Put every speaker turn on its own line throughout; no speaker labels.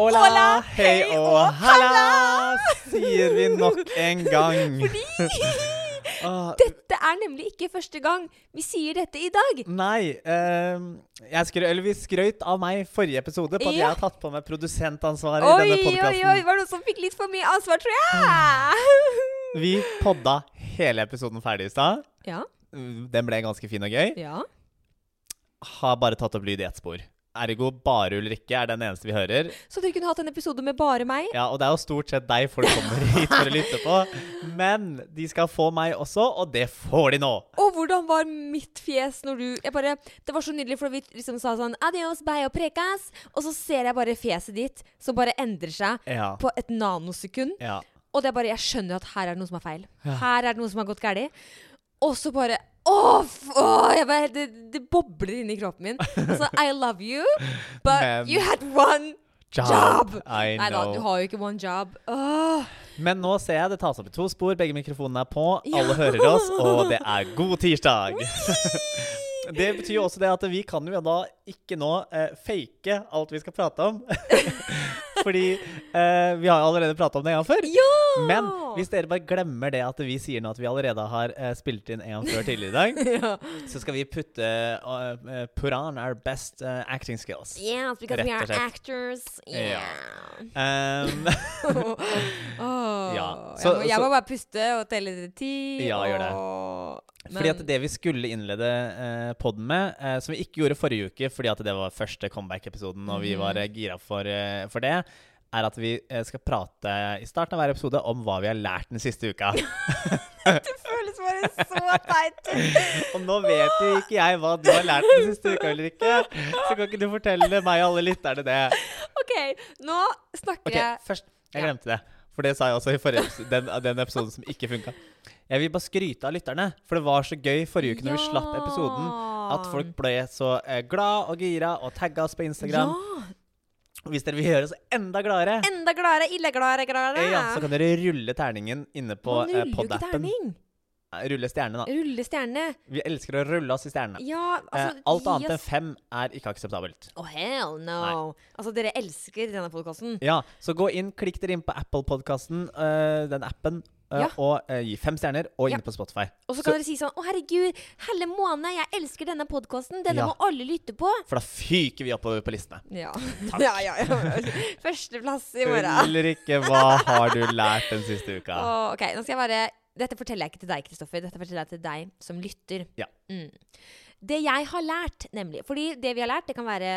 Hola,
Hola,
hei
hei og
og halla, sier vi nok en gang. Ah,
Dette er nemlig ikke første gang vi sier dette i dag.
nei, ehm, jeg skrø, eller vi skrøt av meg i forrige episode på at jeg
Ja.
har tatt på meg produsentansvaret i
Oi,
denne
oi, oi,
podkasten.
var det noen som fikk litt for mye ansvar, tror jeg.
Vi podda hele episoden ferdig i stad.
Ja,
Den ble ganske fin og gøy.
ja.
Har bare tatt opp lyd i ett spor. Ergo bare Ulrikke er den eneste vi hører.
Så dere kunne hatt en episode med bare meg?
Ja, og det er jo stort sett deg folk kommer hit for å lytte på. Men de skal få meg også, og det får de nå.
Og hvordan var mitt fjes når du jeg bare, Det var så nydelig, for vi liksom sa sånn Adios, bye og prekas. Og så ser jeg bare fjeset ditt som bare endrer seg
Ja.
på et nanosekund.
ja.
Og det er bare Jeg skjønner at her er det noe som er feil. Her er det noe som har gått galt. Og så bare Åh, f- åh, jeg bare, det, det bobler inni kroppen min. Altså, I love you, but
Men-
you had one
Job!
Job!
I
Nei da,
know.
du har jo ikke one job. Åh.
Men nå ser jeg det tas opp i to spor, begge mikrofonene er på, alle hører oss, og det er god tirsdag! Det betyr jo også det at vi kan jo da ikke nå eh, fake alt vi skal prate om. Fordi eh, vi har jo allerede prata om det en gang før.
Ja!
Men hvis dere bare glemmer det at vi sier nå at vi allerede har eh, spilt inn en gang før tidligere i dag,
ja.
så skal vi putte uh, uh, Put on our best uh, acting skills.
Yes, because
Rett
we
og
are
slett.
actors.
Ja.
Yeah.
Um,
Åh,
Ja,
jeg,
så-
må, jeg
så-
må bare puste og telle til ti.
Ja, gjør det.
og-
fordi at
Men-
det vi skulle innlede uh, podden med, eh, som vi ikke gjorde forrige uke fordi at det var første comeback-episoden og
Mhm.
vi var eh, gira for, eh, for det, er at vi eh, skal prate i starten av hver episode om hva vi har lært den siste uka.
Det føles bare så teit.
Og nå vet jo ikke jeg hva du har lært den siste uka, Ulrikke. Så kan ikke du fortelle meg og alle lytterne det.
OK, nå snakker
Ok,
jeg
først Jeg
Ja.
glemte det. For det sa jeg også i forrige episode, den, den episoden som ikke funka. Jeg vil bare skryte av lytterne, for det var så gøy forrige uke når vi slapp episoden. At folk ble så eh, glad og gira og tagga oss på Instagram.
Ja,
Og Hvis dere vil gjøre oss enda gladere,
enda gladere, ille gladere, gladere.
eh, ja, så kan dere rulle terningen inne på
Man
eh,
ruller jo ikke
pod-appen.
terning.
Eh, Rulle stjernene, da.
Rulle stjerne.
Vi elsker å rulle oss i stjernene.
Ja, altså
Eh, Alt
gi
annet enn
oss-
fem er ikke akseptabelt.
Oh, hell no. Altså, dere elsker denne podkasten.
Ja, så gå inn, klikk dere inn på Apple-podkasten, den appen, eh,
Ja.
og eh, gi fem stjerner, og
Ja.
inne på Spotify.
Og
Så-
så kan dere si sånn Å, herregud, helle måne, jeg elsker denne podkasten. Denne
Ja.
må alle lytte på.
For da fyker vi oppover på listene.
Ja. ja, ja, ja. Førsteplass i morgen.
Ulrikke, hva har du lært den siste uka?
Å, ok, nå skal jeg bare Dette forteller jeg ikke til deg, Kristoffer. Dette forteller jeg til deg som lytter.
Ja.
Mm. Det jeg har lært, nemlig Fordi det vi har lært, det kan være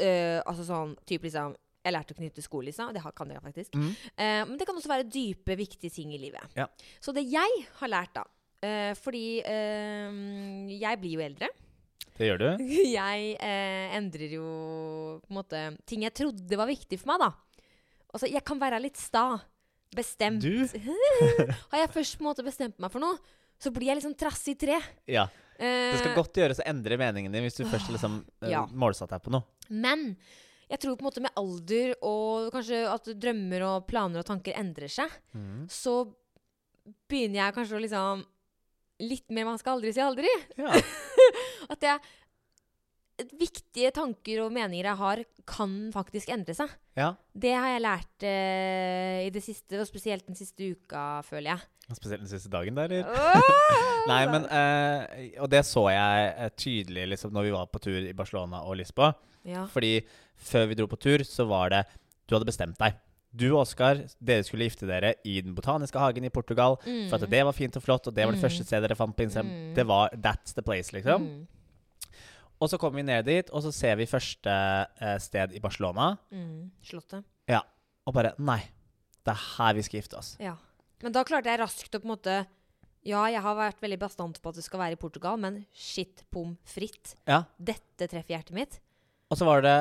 øh, altså sånn typ liksom Jeg lærte å knytte sko, liksom. Det har- kan dere faktisk.
Mm.
Eh, men det kan også være dype, viktige ting i livet.
Ja.
Så det jeg har lært, da eh, Fordi eh, jeg blir jo eldre.
Det gjør du?
Jeg eh, endrer jo på en måte ting jeg trodde var viktig for meg, da. Altså, jeg kan være litt sta. Bestemt.
Du?
Har jeg først på en måte bestemt meg for noe, så blir jeg liksom trass i tre.
Ja.
Eh,
Det skal godt gjøres å endre meningen din hvis du først liksom eh,
Ja.
målsatt deg på noe.
Men jeg tror på en måte med alder og kanskje at drømmer og planer og tanker endrer seg, så begynner jeg kanskje å liksom Litt mer man skal aldri si aldri.
Ja.
At jeg, viktige tanker og meninger jeg har, kan faktisk endre seg.
ja.
Det har jeg lært eh, i det siste, og spesielt den siste uka, føler jeg.
Spesielt den siste dagen der. eller?
Åh!
Nei, men eh, Og det så jeg eh, tydelig liksom når vi var på tur i Barcelona og Lisboa.
ja.
Fordi før vi dro på tur, så var det Du hadde bestemt deg. Du og Oskar, dere skulle gifte dere i den botaniske hagen i Portugal. For at det var fint og flott, og det var det
Mm.
første stedet dere fant på Instagram.
Mm.
Det var That's the place, liksom.
Mm.
Og så kommer vi ned dit, og så ser vi første eh, sted i Barcelona.
Mm. Slottet.
Og bare Nei, det er her vi skal gifte oss.
Ja. Men da klarte jeg raskt å på en måte Ja, jeg har vært veldig bastant på at det skal være i Portugal, men shit pom fritt.
Ja.
Dette treffer hjertet mitt.
Og så var det,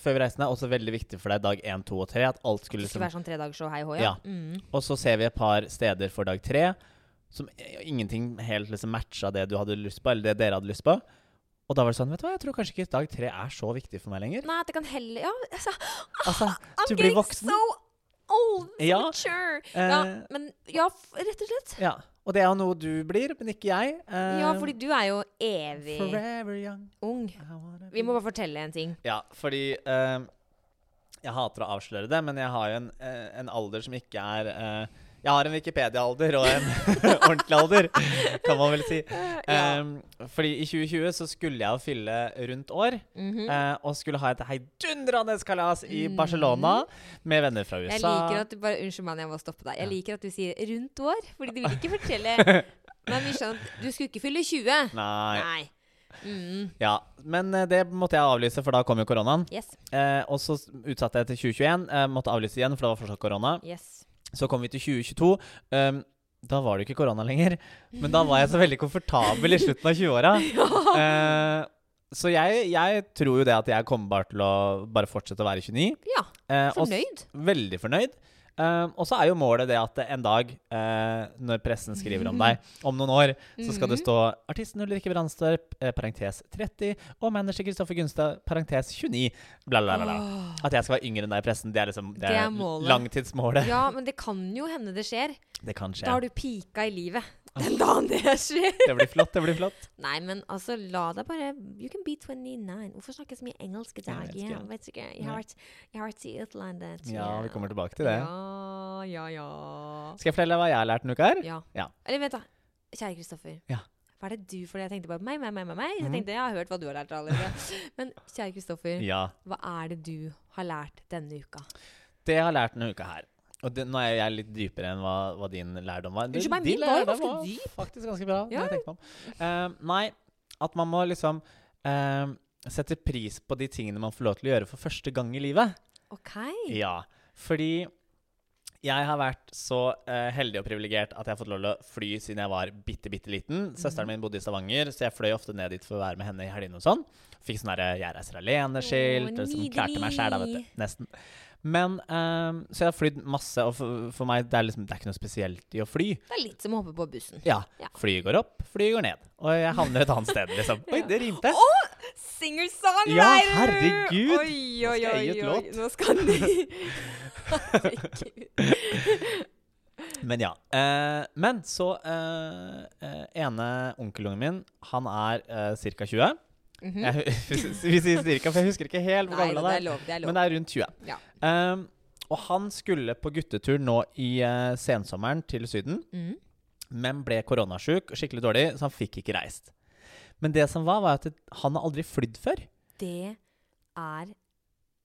før vi reiste ned, også veldig viktig for deg dag én, to og tre at alt skulle
Det
liksom
skulle være sånn tredagsshow, hei hå,
Ja.
ja. Mm.
Og så ser vi et par steder for dag tre som eh, ingenting helt liksom matcha det du hadde lyst på, eller det dere hadde lyst på. Og da var det sånn Vet du hva, jeg tror kanskje ikke dag tre er så viktig for meg lenger.
Nei, det kan heller Ja, altså,
Altså,
I'm
du blir
getting
voksen.
so old, so
Ja.
mature.
Eh.
Ja, men Ja, f- rett og slett.
Ja. Og det er jo noe du blir, men ikke jeg. Eh,
Ja, fordi du er jo evig
Forever young.
ung.
I wanna
Vi
be-
må bare fortelle en ting.
Ja, fordi eh, Jeg hater å avsløre det, men jeg har jo en, eh, en alder som ikke er eh, Jeg har en Wikipedia-alder og en ordentlig alder, kan man vel si.
ja.
Em, fordi i 2020 så skulle jeg jo fylle rundt år,
Mhm.
eh, og skulle ha et heidundrende kalas i Barcelona med venner fra USA.
Jeg liker at du bare, Unnskyld meg, jeg må stoppe deg. Jeg liker at du sier 'rundt år', fordi du vil ikke fortelle Men vi skjønner at du skulle ikke fylle 20.
Nei.
Nei. Mm,
Ja. Men eh, det måtte jeg avlyse, for da kom jo koronaen.
yes.
Eh, og så s- utsatte jeg til 2021. Eh, måtte avlyse igjen, for det var fortsatt korona.
Yes.
Så kom vi til 2022. ehm, da var det jo ikke korona lenger. Men da var jeg så veldig komfortabel i slutten av 20-åra. Eh, så jeg, jeg tror jo det at jeg kommer bare til å bare fortsette å være 29.
Ja.
eh, og s-
Fornøyd.
veldig fornøyd. Ehm, og så er jo målet det at en dag, eh, når pressen skriver om deg om noen år, så skal det
Mhm.
stå 'Artisten Ulrikke Brandstorp, eh, parentes 30, og manager Kristoffer Gunstad, parentes 29', bla, bla, bla. bla.
Åh.
At jeg skal være yngre enn deg i pressen, det er liksom det
Det
er
er målet.
langtidsmålet.
Ja, men det kan jo hende det skjer.
Det kan skje.
Da har du pika i livet. Den dagen det skjer.
Det blir flott, det blir flott.
Nei, men altså, la deg bare You can be 29. Hvorfor snakke så mye engelsk i dag?
Jeg vet ikke.
Jeg vet ikke. Jeg har vært- jeg har vært i utlandet.
Ja, vi kommer tilbake til det.
Ja, ja, ja.
Skal jeg fortelle deg hva jeg har lært denne uka her?
Ja.
Ja.
Eller vent, da. Kjære Kristoffer.
Ja.
Hva er det du for det? Jeg tenkte bare meg, meg, meg, meg. meg. Så
Mhm.
jeg tenkte jeg har hørt hva du har lært allerede. Men kjære Kristoffer,
Ja.
hva er det du har lært denne uka?
Det jeg har lært denne uka her. Og det, nå er jeg litt dypere enn hva, hva din lærdom var.
Unnskyld meg,
Din
min var jo
lærdom
ganske
var
dyp.
Faktisk ganske bra. når
Ja.
jeg tenker meg om. Eh, nei, at man må liksom eh, sette pris på de tingene man får lov til å gjøre for første gang i livet.
OK.
Ja, fordi jeg har vært så eh, heldig og privilegert at jeg har fått lov til å fly siden jeg var bitte, bitte liten. Søsteren min bodde i Stavanger, så jeg fløy ofte ned dit for å være med henne i helgene og sånn. Fikk sånn derre 'jeg reiser alene'-skilt.
Åh,
og Liksom, klarte meg sjæl, da, vet
nydelig.
du. Nesten. Men eh, Så jeg har flydd masse, og for, for meg det er liksom, det er ikke noe spesielt i å fly.
Det er litt som å hoppe på bussen.
Ja,
Ja.
Flyet går opp, flyet går ned. Og jeg havner et annet sted, liksom. Oi, det rimte!
Å! Singer-songwriter!
Ja, herregud!
Oi, oi,
skal jeg
oi.
gi ut
oi.
låt.
Nå skal du Herregud.
Men ja. Eh, men så eh, eh, ene onkelungen min, han er eh, ca. 20.
Mhm.
Jeg, hu- vi sier cirka, for jeg husker ikke helt hvor
Nei,
gammel
det er
han er.
lov. Det er lov.
Men det er rundt 20.
Ja.
Um, og han skulle på guttetur nå i eh, sensommeren til Syden,
Mhm.
men ble koronasjuk og skikkelig dårlig, så han fikk ikke reist. Men det som var, var at det- han har aldri flydd før.
Det er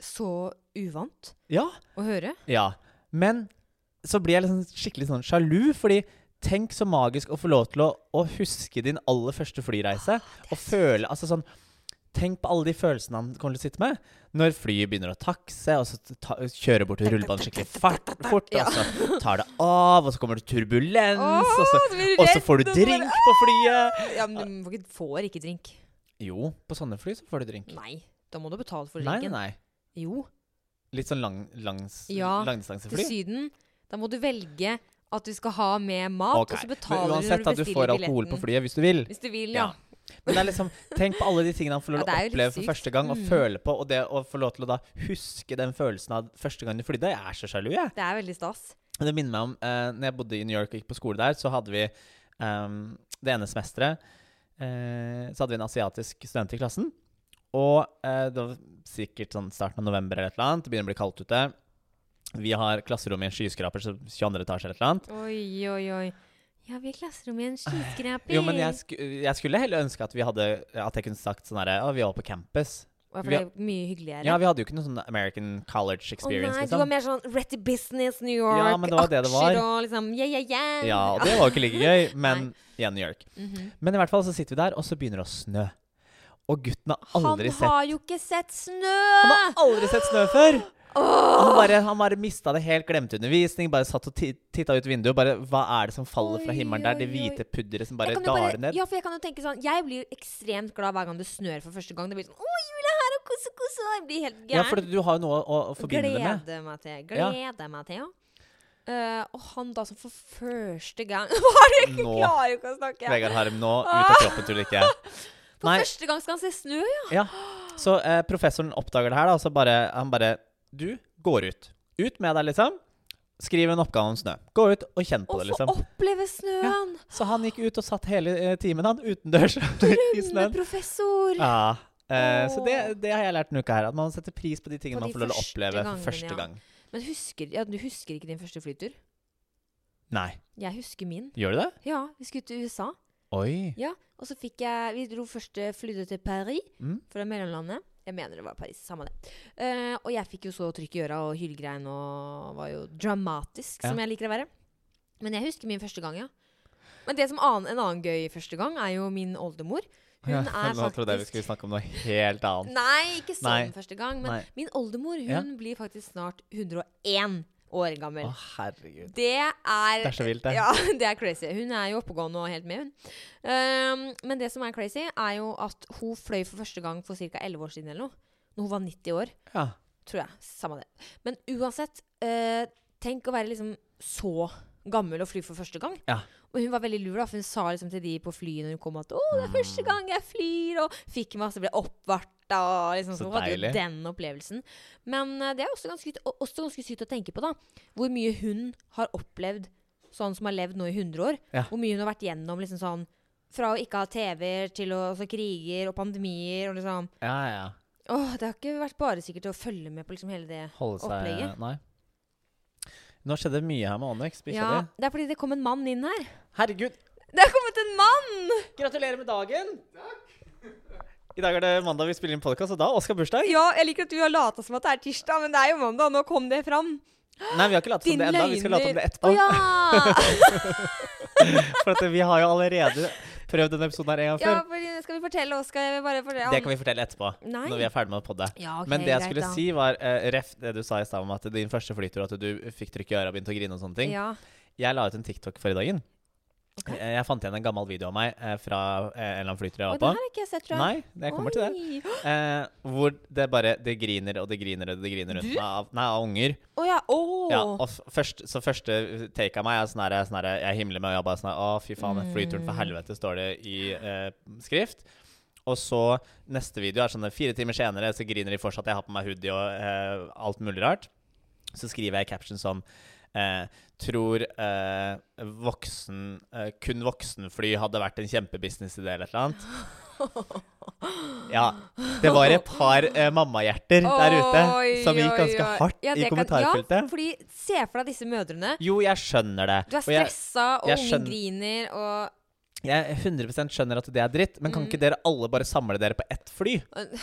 så uvant
Ja.
å høre.
ja. Men så blir jeg liksom skikkelig sånn sjalu, fordi tenk så magisk å få lov til å, å huske din aller første flyreise.
Ah,
Og føle Altså sånn Tenk på alle de følelsene han kommer til å sitte med. Når flyet begynner å takse, og så ta, kjører bort til rullebanen skikkelig fart, fort, og så tar det av, og så kommer det turbulens, og så,
blir du
og så
redd,
får du
og så bare-
drink på flyet.
Ja, men du får ikke- får ikke drink.
Jo, på sånne fly så får du drink.
Nei, da må du betale for
Nei, nei,
drinken.
nei.
Jo,
Litt sånn lang, langs,
Ja, til
langdistansefly.
Syden. Da må du velge at du skal ha med mat,
Ok,
og så
Men
betaler
uansett, da,
du når du
du
bestiller
får
billetten.
alkohol på flyet hvis du vil.
Hvis du vil,
Ja.
ja.
Men det er liksom, tenk på alle de tingene han får lov til
Ja,
å
det er jo litt
oppleve for
sykt.
første gang, og
Mm.
føle på, og det å få lov til å da huske den følelsen av første gang du flydde. Jeg er så sjalu, jeg.
Det er veldig stas.
Det minner meg om eh, Når jeg bodde i New York og gikk på skole der, så hadde vi ehm, det ene semesteret eh, Så hadde vi en asiatisk student i klassen. Og eh, det var sikkert sånn starten av november eller et eller annet. Det begynner å bli kaldt ute. Vi har klasserom i en skyskraper, så 22. etasje eller et eller annet.
Oi, oi, oi. Ja, vi er i klasserommet i en skyskraper.
Jo, men jeg, sku, jeg skulle heller ønske at vi hadde At jeg kunne sagt sånn herre Å, vi var på campus.
Å, for
vi
det
har-
er mye hyggeligere.
Ja, vi hadde jo ikke noe sånn American college
Å
experience,
nei, du var
liksom.
mer sånn Retty Business, New York,
Ja, men det var det det var.
aksjer og liksom yeah, yeah, yeah.
Ja, og det var jo ikke like gøy, men igjen New York.
Mhm.
Men i hvert fall så sitter vi der, og så begynner det å snø. Og gutten har aldri
han
sett
har jo ikke sett snø!
Han har aldri sett snø før!
Åh!
Han bare, han bare mista det helt, glemte undervisning, bare satt og titta ut vinduet. Bare, hva er det som faller fra
Oi,
himmelen der? Det
oi, oi.
hvite pudderet som bare
Jeg kan jo
daler ned.
Ja, for jeg kan jo tenke sånn Jeg blir jo ekstremt glad hver gang det snør for første gang. Det blir sånn Å, jula er her, og kose, kose. Jeg blir helt gæren.
Ja, for du har jo noe å, å forbinde det med.
Gleder meg til.
Ja.
Gleder meg til, ja. Eh, og han da som for første gang Var det ikke
Nå.
klarer jo ikke å snakke?
Vegard Harm nå, ut av kroppen, tror du ikke?
For
Nei.
første gang skal han se snø, ja.
Ja. Så eh, professoren oppdager det her, da, og så bare, han bare Du går ut. Ut med deg, liksom. Skriv en oppgave om snø. Gå ut og kjenn på
Å
det,
få
liksom.
oppleve snøen.
Så han gikk ut og satt hele eh, timen han utendørs i snøen.
Drømmeprofessor.
Ja, Eh, Så det,
Åh.
det har jeg lært denne uka her. At man setter pris på de tingene
På
man
de
får lov til å
første
oppleve
gangene, ja.
første gang.
Men husker, ja, du husker ikke din første flytur?
Nei,
Jeg husker min.
gjør du det?
Ja, vi skulle til USA.
Oi.
Ja, og så fikk jeg Vi dro først eh, flydde til Paris
Mm.
fra mellomlandet. Jeg mener det var Paris. Samme det. Eh, og jeg fikk jo så trykk i øra og hylgrein og var jo dramatisk, som jeg liker å være. Men jeg husker min første gang, ja. Men det som annen, en annen gøy første gang, er jo min oldemor. Hun
Ja,
er
Nå trodde jeg vi
faktisk-
skulle snakke om noe helt annet.
Nei, ikke sånn
Nei.
første gang. Men
Nei.
min oldemor hun
Ja.
blir faktisk snart 101 år
Å,
gammel.
herregud.
Det er
Det er så vilt, det.
Ja, det er crazy. Hun er jo oppegående og helt med, hun. Um, men det som er crazy, er jo at hun fløy for første gang for ca. 11 år siden eller noe. Når hun var 90 år,
Ja.
tror jeg. Samme det. Men uansett, eh, tenk å være liksom så gammel og fly for første gang.
Ja.
Og hun var veldig lur, da, for hun sa liksom til de på flyet når hun kom at 'Å, det er
Mm.
første gang jeg flyr', og fikk masse, ble oppvarta og liksom
Så
så Hun hadde jo
deilig.
den opplevelsen. Men eh, det er også ganske, og- også ganske sykt å tenke på, da. Hvor mye hun har opplevd, sånn som har levd nå i 100 år.
Ja.
Hvor mye hun har vært gjennom, liksom sånn fra å ikke ha TV til å, altså, kriger og pandemier og liksom
ja, ja.
Åh, det har ikke vært bare sikkert å følge med på liksom hele det
Holde seg
Opplegget.
Nei. Nå skjedde det mye her med Onyx. Bikkja
Ja,
di.
det er fordi det kom en mann inn her.
Herregud,
Det har kommet en mann!
gratulerer med dagen! I dag er det mandag vi spiller inn podkast, og da har Oskar bursdag.
Ja, jeg liker at du har lata som at det er tirsdag, men det er jo mandag. Nå kom det fram.
Nei, vi har ikke latt som
Din
det ennå. Vi skal late om det etterpå.
Å ja!
For at vi har jo allerede prøvd denne episoden her en gang
ja
før.
for, skal vi fortelle oss? Skal jeg bare fortelle?
Det kan vi fortelle etterpå,
Nei.
når vi er ferdig med å podde.
Ja, ok,
Men det jeg
greit
skulle
da.
si, var eh, ref det du sa i stad om at din første flytur, at du fikk trykk i øra og begynte å grine og sånne ting.
Ja.
Jeg la ut en TikTok forrige dagen.
Ok.
Eh, Jeg fant igjen en gammel video av meg eh, fra eh, en eller annen flytur jeg
Og
var
det
på.
her har ikke jeg sett, tror jeg.
Nei, det kommer til det.
det.
Eh, hvor det bare Det griner og det griner og det griner rundt
Du?
meg av, nei, av unger.
Å ja. Åh.
Ja, og f- først, så første take av meg er sånn her, sånn her Jeg himler med øya bare sånn her Å, fy faen, den flyturen
Mm.
for helvete, står det i eh, skrift. Og så neste video er sånn fire timer senere, så griner de fortsatt. Jeg har på meg hoodie og eh, alt mulig rart. Så skriver jeg i caption sånn eh, Tror eh, voksen eh, Kun voksenfly hadde vært en kjempebusinessidé eller et eller annet. Ja. Det var et par eh, mammahjerter der ute
Oi,
som gikk
oi,
ganske
oi.
hardt
Ja,
i
det kan- Ja,
kommentarfeltet.
fordi se for deg disse mødrene.
Jo, jeg skjønner det.
Du er
Og jeg,
stressa, og,
jeg
ungen
skjønner-
griner, og
jeg 100 skjønner at det er dritt, men
Mm.
kan ikke dere alle bare samle dere på ett fly?
Øh.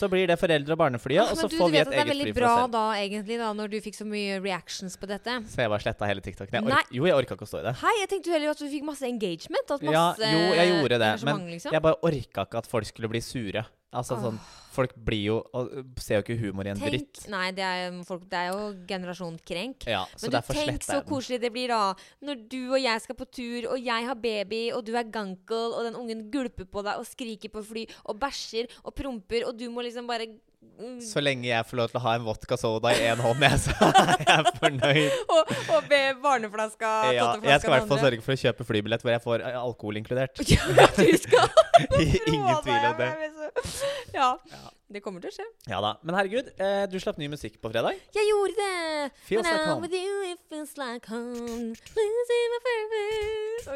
Så blir det foreldre- og barneflyet, og
Men
så
du,
får vi
du
et
vet at det er
eget
veldig
fly for
bra
oss selv.
da, egentlig, da, når du fikk så mye reactions på dette.
Så jeg bare sletta hele TikToken. Jeg,
Nei.
ork jo, jeg orka ikke å stå i det.
Hei, jeg tenkte jo heller at du fikk masse engagement. At
Ja,
masse
jo, jeg gjorde det, men
engasjement, liksom.
Jeg bare orka ikke at folk skulle bli sure. Altså sånn, Folk blir jo og, øh, ser jo ikke humor i en
Tenk,
dritt.
Nei, det er, jo folk, det er jo generasjon krenk.
Ja, så
Men du,
derfor
tenk
sletta
så
jeg den.
koselig det blir da når du og jeg skal på tur, og jeg har baby, og du er gankel, og den ungen gulper på deg og skriker på fly og bæsjer og promper, og du må liksom bare mm,
Så lenge jeg får lov til å ha en vodka soda i én hånd, jeg, så er jeg fornøyd.
og, og be barneflaska
Ja, jeg skal i hvert fall
andre.
sørge for å kjøpe flybillett hvor jeg får eh, alkohol inkludert.
Ja, du skal
Ingen tvil om det.
Ja.
Ja.
Det kommer til å skje.
Ja da. Men herregud, eh, du slapp ny musikk på fredag.
Jeg gjorde det!
Feels
When
like
I'm
home.
with you, it feels like home. Losing my purpose.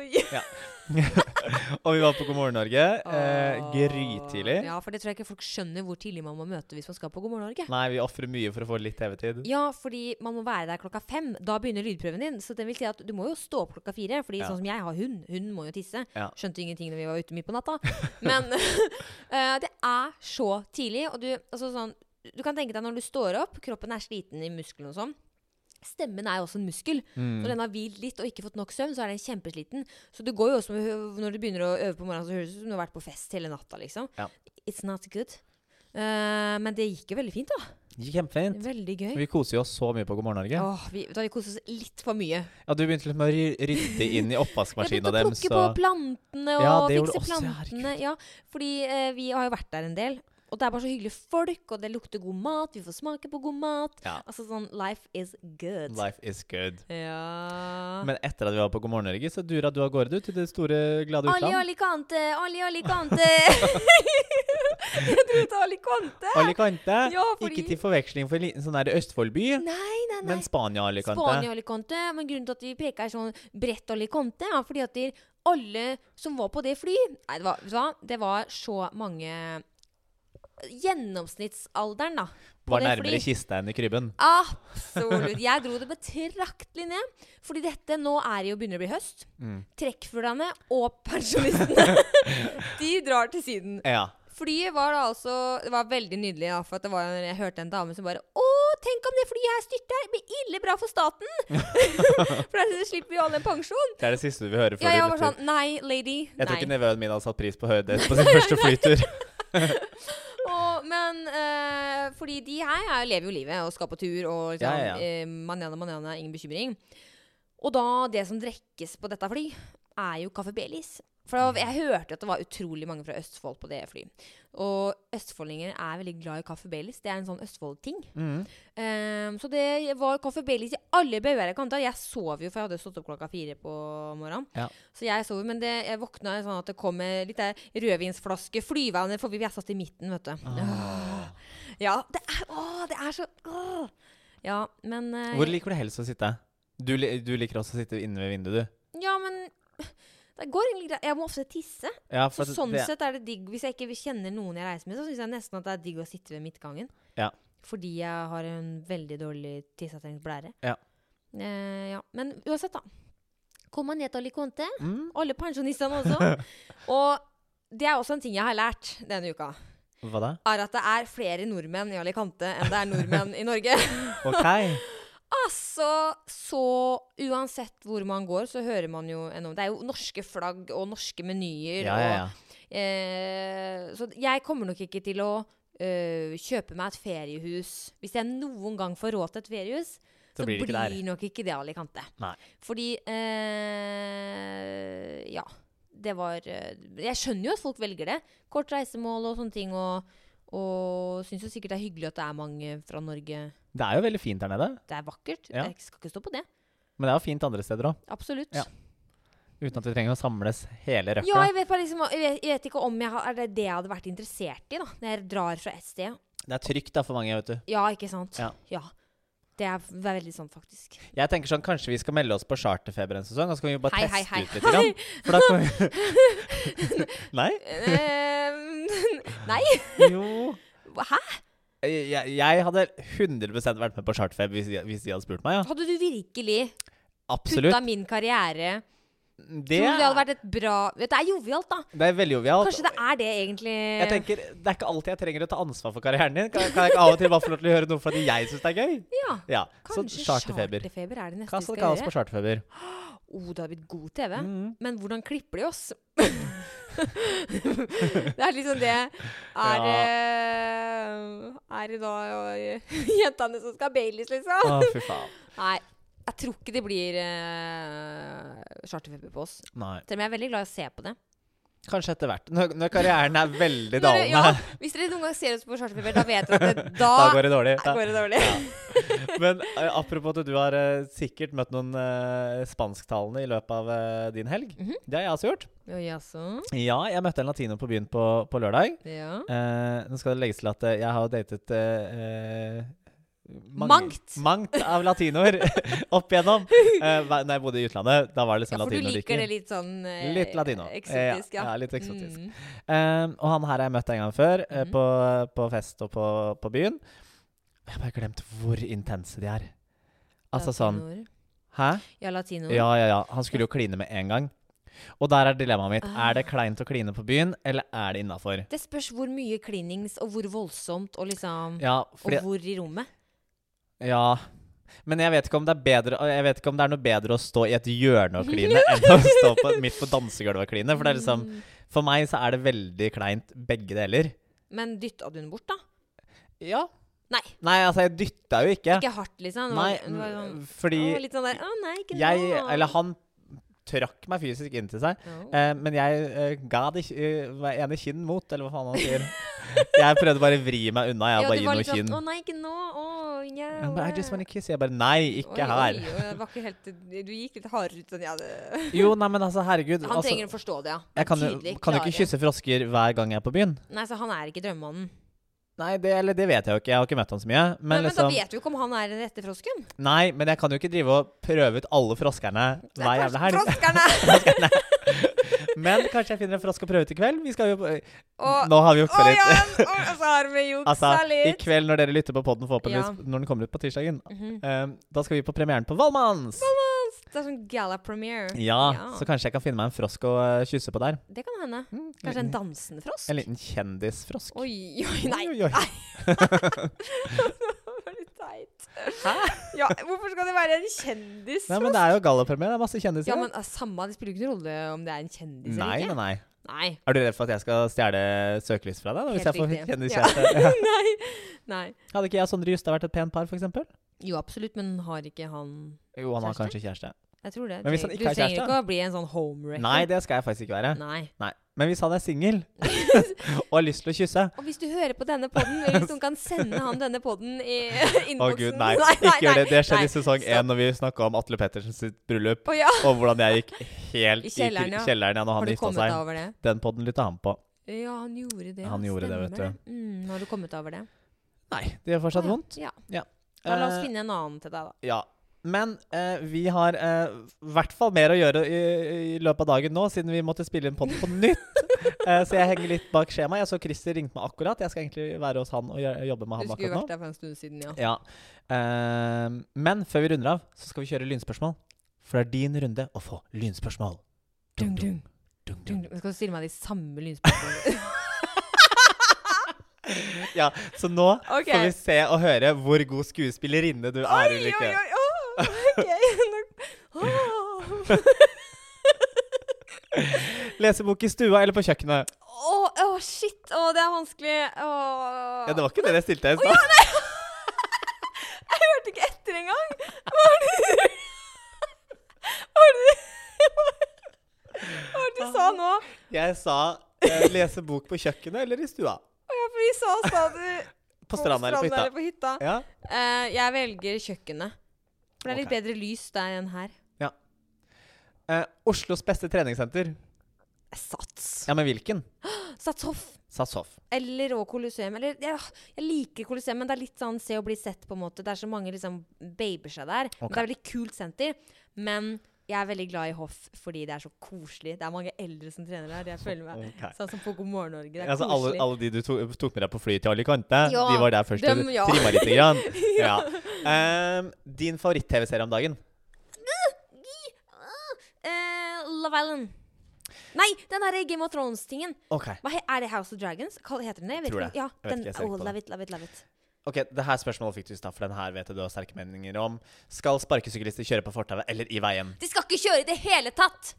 Oi.
Og vi var på God morgen Norge eh, grytidlig.
Ja, for det tror jeg ikke folk skjønner hvor tidlig man må møte hvis man skal på God morgen Norge.
Nei, vi ofrer mye for å få litt TV-tid.
Ja, fordi man må være der klokka fem. Da begynner lydprøven din. Så det vil si at du må jo stå opp klokka fire. Fordi
Ja.
sånn som jeg har hund, hun må jo tisse.
Ja.
Skjønte ingenting når vi var ute midt på natta. Men eh, det er så tidlig. Og du, altså sånn, du kan tenke deg når du står opp, kroppen er sliten i musklene og sånn. Stemmen er jo også en muskel.
Mm.
Når den har hvilt litt og ikke fått nok søvn, så er den kjempesliten. Så det går jo også med, når du begynner å øve på morgenen, så høres det ut som du har vært på fest hele natta, liksom.
Ja.
It's not good. Eh, men det gikk jo veldig fint, da.
Gikk kjempefint.
Veldig gøy.
Vi koser jo oss så mye på God morgen Norge.
Åh, vi, da, vi koser oss litt for mye.
Ja, du begynte litt med å ry- rydde inn i
Jeg
oppvaskmaskina
begynte å
dem,
plukke på
så
plantene og
Ja, det gjorde
fikse
også, ja, herregud.
plantene. Ja, fordi eh, vi har jo vært der en del. Og det er bare så hyggelige folk, og det lukter god mat. Vi får smake på god mat.
Ja.
Altså sånn Life is good.
Life is good.
Ja
Men etter at vi var på God morgen Norge, så dura du av gårde, du, til det store, glade
Ali
utland.
Alicante, Ali Alicante. Jeg trodde Alicante.
Alicante.
Ja, fordi-
Ikke til forveksling for en liten sånn der Østfoldby,
Nei, nei, nei.
men Spania-Alicante.
Spania Alicante. Men grunnen til at vi peker sånn bredt Alicante, er fordi at de, alle som var på det fly Nei, det var, vet du hva? det var så mange gjennomsnittsalderen, da. på
Var
det
nærmere
fly-
kista enn i krybben.
Absolutt. Jeg dro det betraktelig ned. Fordi dette nå er det jo begynner å bli høst.
Mm.
Trekkfuglene og pensjonistene De drar til Syden.
Ja.
Flyet var da altså Det var veldig nydelig, da, for at det var, jeg hørte en dame som bare Å, tenk om det flyet her styrter! Det blir ille bra for staten! for da slipper vi all den pensjonen.
Det er det siste du vil høre før
Ja,
du
jeg var
bytter.
sånn Nei, lady.
Jeg tror
Nei.
ikke nevøen min hadde satt pris på å høre det på sin første flytur.
Og, men eh, fordi de her er, lever jo livet og skal på tur og liksom,
Ja, ja, ja.
eh, manana, manana, ingen bekymring. Og da, det som drikkes på dette fly, er jo Kaffe Belis. For da- jeg hørte at det var utrolig mange fra Østfold på det flyet. Og østfoldinger er veldig glad i Kaffe Belis. Det er en sånn Østfold-ting.
Mm.
Ehm, så det var Kaffe Baileys i alle bauger jeg kan ta. Jeg sov jo, for jeg hadde stått opp klokka fire på morgenen.
Ja.
Så jeg sov, men det, jeg våkna sånn at det kom en liten rødvinsflaske flyvende forbi. Jeg satt i midten, vet du.
Ah.
Ja, det er, åh, det er så åh. Ja, men eh,
Hvor liker du helst å sitte? Du, li- du liker også å sitte inne ved vinduet, du.
Ja, men det går egentlig greit. Jeg må ofte tisse.
Ja,
Så
for at
sånn
det,
sett er det digg Hvis jeg ikke kjenner noen jeg reiser med, så syns jeg nesten at det er digg å sitte ved midtgangen.
Ja.
Fordi jeg har en veldig dårlig tissetrengt blære.
Ja.
Eh, ja. Men uansett, da. Kom meg ned til Alicante.
mm,
Alle pensjonistene også. Og det er også en ting jeg har lært denne uka.
Hva da?
Er at det er flere nordmenn i Alicante enn det er nordmenn i Norge.
OK.
Altså, så uansett hvor man går, så hører man jo enormt Det er jo norske flagg og norske menyer.
Ja, ja,
og
ja.
Eh, så jeg kommer nok ikke til å eh, kjøpe meg et feriehus. Hvis jeg noen gang får råd til et feriehus, så,
Så blir det ikke der.
nok ikke det Alicante.
Nei.
Fordi eh, Ja. Det var eh, Jeg skjønner jo at folk velger det. Kort reisemål og sånne ting. Og, og syns jo sikkert det er hyggelig at det er mange fra Norge.
Det er jo veldig fint der nede.
Det er vakkert.
Ja.
Jeg skal ikke stå på det.
Men det er jo fint andre steder òg.
Absolutt.
Ja. Uten at vi trenger å samles hele
Ja,
røkla.
jeg vet, bare liksom, jeg vet, jeg vet ikke om jeg har, er det det jeg hadde vært interessert i, da. Når jeg drar fra et sted.
Det er trygt da for mange, vet du.
Ja, ikke sant?
Ja.
Ja. Det, er, det er veldig sånn, faktisk.
Jeg tenker sånn, Kanskje vi skal melde oss på charterfeber en sesong, og så kan vi bare
Hei, hei,
teste
hei,
ut litt. Grann. For da kan vi... Nei?
Eh, Nei,
Jo.
hæ?
Jeg, jeg hadde 100 vært med på charterfeber hvis, de- hvis de hadde spurt meg. ja.
Hadde du virkelig putta
Absolutt.
min karriere
Det,
Tror du det hadde
er-
vært et bra Det er jovialt, da.
det er veldig jovialt.
Kanskje det er det, egentlig.
Jeg tenker, Det er ikke alltid jeg trenger å ta ansvar for karrieren din. Kan, kan jeg ikke av og til bare få lov til å gjøre noe fordi jeg syns det er gøy?
ja.
Ja, Så
Kanskje
charterfeber.
er det neste
Kast
vi
og
skal
kaos på
gjøre.
charterfeber.
Oh, det hadde blitt god TV.
Mm.
Men hvordan klipper de oss? det er liksom det Er
Ja.
eh, Er det da eh, jentene som skal Baileys, liksom?
Å, fy faen.
Nei, jeg tror ikke det blir uh, charterfeber på oss.
Nei.
Selv om jeg er veldig glad i å se på det.
Kanskje etter hvert. Når, når karrieren er veldig
Når
dalende,
dere- ja, hvis dere noen gang ser oss på charterfeber, da vet dere at det, da,
da går det dårlig.
går det dårlig.
Men eh, apropos at du har eh, sikkert møtt noen eh, spansktalende i løpet av eh, din helg.
Mhm. Mm.
Det har jeg også gjort.
Ja, jaså.
Ja, jeg møtte en latino på byen på, på lørdag.
Ja.
Eh, nå skal det legges til at eh, jeg har datet eh, eh, mange-
Mangt.
Mangt av latinoer opp igjennom. Eh, hva- når jeg bodde i utlandet, da var det
ja,
liksom
for du liker det
latino-drikker.
litt sånn eh,
Litt latino.
Eksotisk,
Eh,
ja.
ja, litt eksotisk.
Mm.
Eh, og han her har jeg møtt en gang før, eh,
Mhm.
på, på fest og på, på byen. Jeg har bare glemt hvor intense de er. Altså sånn
Latinoer.
Hæ?
Ja, latino.
Ja, ja, ja. Han skulle jo kline med en gang. Og der er dilemmaet mitt.
Ah.
Er det kleint å kline på byen, eller er det innafor?
Det spørs hvor mye klinings, og hvor voldsomt, og liksom
Ja, fordi
Og hvor i rommet.
Ja. Men jeg vet, ikke om det er bedre, jeg vet ikke om det er noe bedre å stå i et hjørne og kline enn å stå på, midt på dansegulvet og kline. For, det er liksom,
Mm.
for meg så er det veldig kleint begge deler.
Men dytta du den bort, da?
Ja.
Nei.
Nei, altså, jeg dytta jo ikke.
Ikke hardt, liksom? Det var-
Nei,
det var sånn-
mm, fordi
Å, litt sånn der Å, nei, ikke
jeg
nå.
Eller han trakk meg fysisk inntil seg.
Ja.
Eh, men jeg eh, ga det eh, var ene kinn mot, eller hva faen han sier. jeg prøvde bare å vri meg unna. Jeg
Ja,
bare
du
gi
var
noe
litt sånn,
kinn.
Å nei, ikke nå. Å, yeah,
Han bare, I just wanna kiss. Jeg bare Nei, ikke
oi,
her.
Oi, oi, det var ikke helt, du gikk litt hardere ut enn jeg hadde
Jo, nei, men altså, herregud.
Han
altså,
trenger å forstå det, ja.
Jeg kan, jo-
Tydelig,
kan jo
klare.
ikke kysse frosker hver gang jeg er på byen.
Nei, så han er ikke drømmemannen.
Nei, det, eller, det vet jeg jo ikke. Jeg har ikke møtt han så mye. Men,
Men, men da
liksom,
vet du jo ikke om han er den rette frosken.
nei, men jeg kan jo ikke drive og prøve ut alle froskerne
Det er
hver jævla
kanskje
helg.
Froskerne!
Men kanskje jeg finner en frosk å prøve ut i kveld. Vi skal jo
Og,
Nå har vi juksa
og
litt.
ja, og så har vi juksa
Altså, i
litt.
kveld når dere lytter på podden forhåpentligvis,
Ja.
når den kommer ut på tirsdagen,
Mhm.
eh, da skal vi på premieren på Valmanns!
Det er sånn gala-premiere.
Ja,
Ja.
så kanskje jeg kan finne meg en frosk å eh, kysse på der.
Det kan hende.
Mm,
Kanskje
liten-
en dansende frosk?
En liten kjendisfrosk.
Oi, oi, nei.
Oi, oi.
Det var litt teit. Ja, hvorfor skal det være en kjendis?
Nei, men det er jo gallapremiere. Det er masse kjendiser.
Ja, men ah, samme, det spiller jo ikke noen rolle om det er en kjendis
nei,
eller
nei,
ikke.
nei.
Nei.
Er du redd for at jeg skal stjele søkelyset fra deg? Da, hvis
Helt
jeg får
riktig.
kjendiskjæreste?
Ja. nei. nei.
Hadde ikke jeg og Sondre Justad vært et pent par, for eksempel?
Jo, absolutt, men har ikke han
Jo, han har
Kjæreste?
kanskje kjæreste.
Jeg tror det.
Men hvis han
Treng-
ikke har
du trenger
kjæreste,
ikke å bli en sånn homewrecker.
Nei, det skal jeg faktisk ikke være.
Nei.
Men hvis han er singel og har lyst til å kysse
Og hvis du hører på denne podden, eller hvis noen kan sende han denne podden i innboksen
Å gud, nei. Ikke gjør det. Det skjedde i sesong
Så-
én når vi snakka om Atle Pettersens sitt bryllup,
Å ja.
og hvordan jeg gikk helt
I
i
kjelleren,
kjelleren,
ja.
kjelleren ja, når
Har
han
du
gifta
kommet deg
seg.
over det?
Den podden lytta han på.
Ja, han gjorde det.
Han gjorde det, vet
stemmer det. Mm, har du kommet deg over det?
Nei, det gjør fortsatt
Å ja,
vondt.
Ja.
Ja.
Da la oss
Eh,
finne en annen til deg, da.
Ja. Men eh, vi har eh, i hvert fall mer å gjøre i, i løpet av dagen nå, siden vi måtte spille inn podden på nytt. Eh, så jeg henger litt bak skjemaet. Jeg så Christer ringte meg akkurat. Jeg skal egentlig være hos han og gjø- jobbe med ham
Du skulle vært
akkurat nå.
der for en stund siden, ja.
Ja. Eh, men før vi runder av, så skal vi kjøre lynspørsmål. For det er din runde å få lynspørsmål.
Dung, dung,
dung,
dung, dung. Skal du stille meg de samme lynspørsmålene?
Ja, så nå
Ok.
får vi se og høre hvor god skuespillerinne du er,
Oi, oi,
Ulrikke.
oi! åh, ok. Nå- Åh.
Lese bok i stua eller på kjøkkenet?
Åh, åh, shit! Åh, det er vanskelig. Åh.
Ja, Det var ikke det jeg stilte i
Å ja,
stad.
nei! Jeg hørte ikke etter engang! Hva var det du Hva var det du Hva var det du sa nå?
Jeg sa eh, lese bok på kjøkkenet eller i stua.
Å ja, fordi så sa du
På stranda eller på hytta.
eller på hytta.
Ja.
Eh, jeg velger kjøkkenet. For det er litt
Ok.
bedre lys der enn her.
Eh, Oslos beste treningssenter.
Sats.
Ja, men hvilken?
Sats Hoff.
SAS Hoff.
Eller og Colosseum. Eller, ja, jeg liker Colosseum, men det er litt sånn se og bli sett, på en måte. Det er så mange liksom baber seg der. Men
Ok.
Det er veldig kult senter. Men jeg er veldig glad i Hoff fordi det er så koselig. Det er mange eldre som trener der. Jeg føler meg
Ok.
sånn som på God morgen Norge. Det er
Altså, alle,
koselig.
alle de du to, tok med deg på flyet til Alicante,
Ja,
de var der først og
dem, ja.
trimma litt. Grann. ja. Ehm, din favoritt-TV-serie om dagen?
Eh, Love Island. Nei, den derre Game of Thrones-tingen.
OK,
Hva he- Er det House of Dragons? Hva heter den det? Jeg vet
Tror
ikke.
det.
Ja,
Jeg vet
den,
ikke, jeg ser ikke på
oh,
det.
love it, love it, love it.
Ok, det her spørsmålet fikk du i stad, for den her vet jeg du har sterke meninger om. Skal sparkesyklister kjøre på fortauet eller i veien?
De skal ikke kjøre i det hele tatt!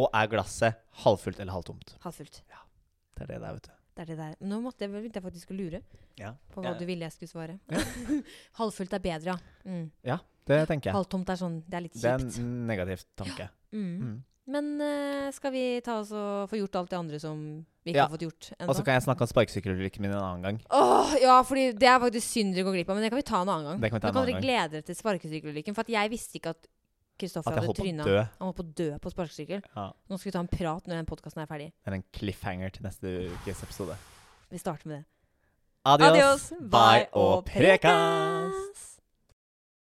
Og er glasset halvfullt eller halvtomt?
Halvfullt.
Det er det der, vet du.
Det er det der. Nå måtte jeg, begynte jeg faktisk å lure
Ja,
på hva
Ja.
du ville jeg skulle svare. Halvfullt er bedre, ja. Mm.
ja det tenker jeg.
Halvtomt er sånn Det er litt
Det er
kjipt.
en negativ tanke.
Mm.
Mm.
Men eh, skal vi ta oss og få gjort alt det andre som vi ikke
Ja.
har fått gjort
Og så
ennå?
kan jeg snakke om sparkesykkelulykken min en annen gang.
Åh, ja, fordi det er faktisk synd dere går glipp av, men det kan vi ta en annen gang.
Det kan vi ta
Nå
en
kan
annen
dere glede dere til sparkesykkelulykken, for at jeg visste ikke at Kristoffer
At jeg
hadde
holdt på å
tryna.
dø.
Han holdt på å dø på sparkesykkel.
Ja.
Nå skal vi ta en prat når den podkasten er ferdig.
Det er en cliffhanger til neste ukes episode.
Vi starter med det.
Adios,
Adios,
bye og prekas!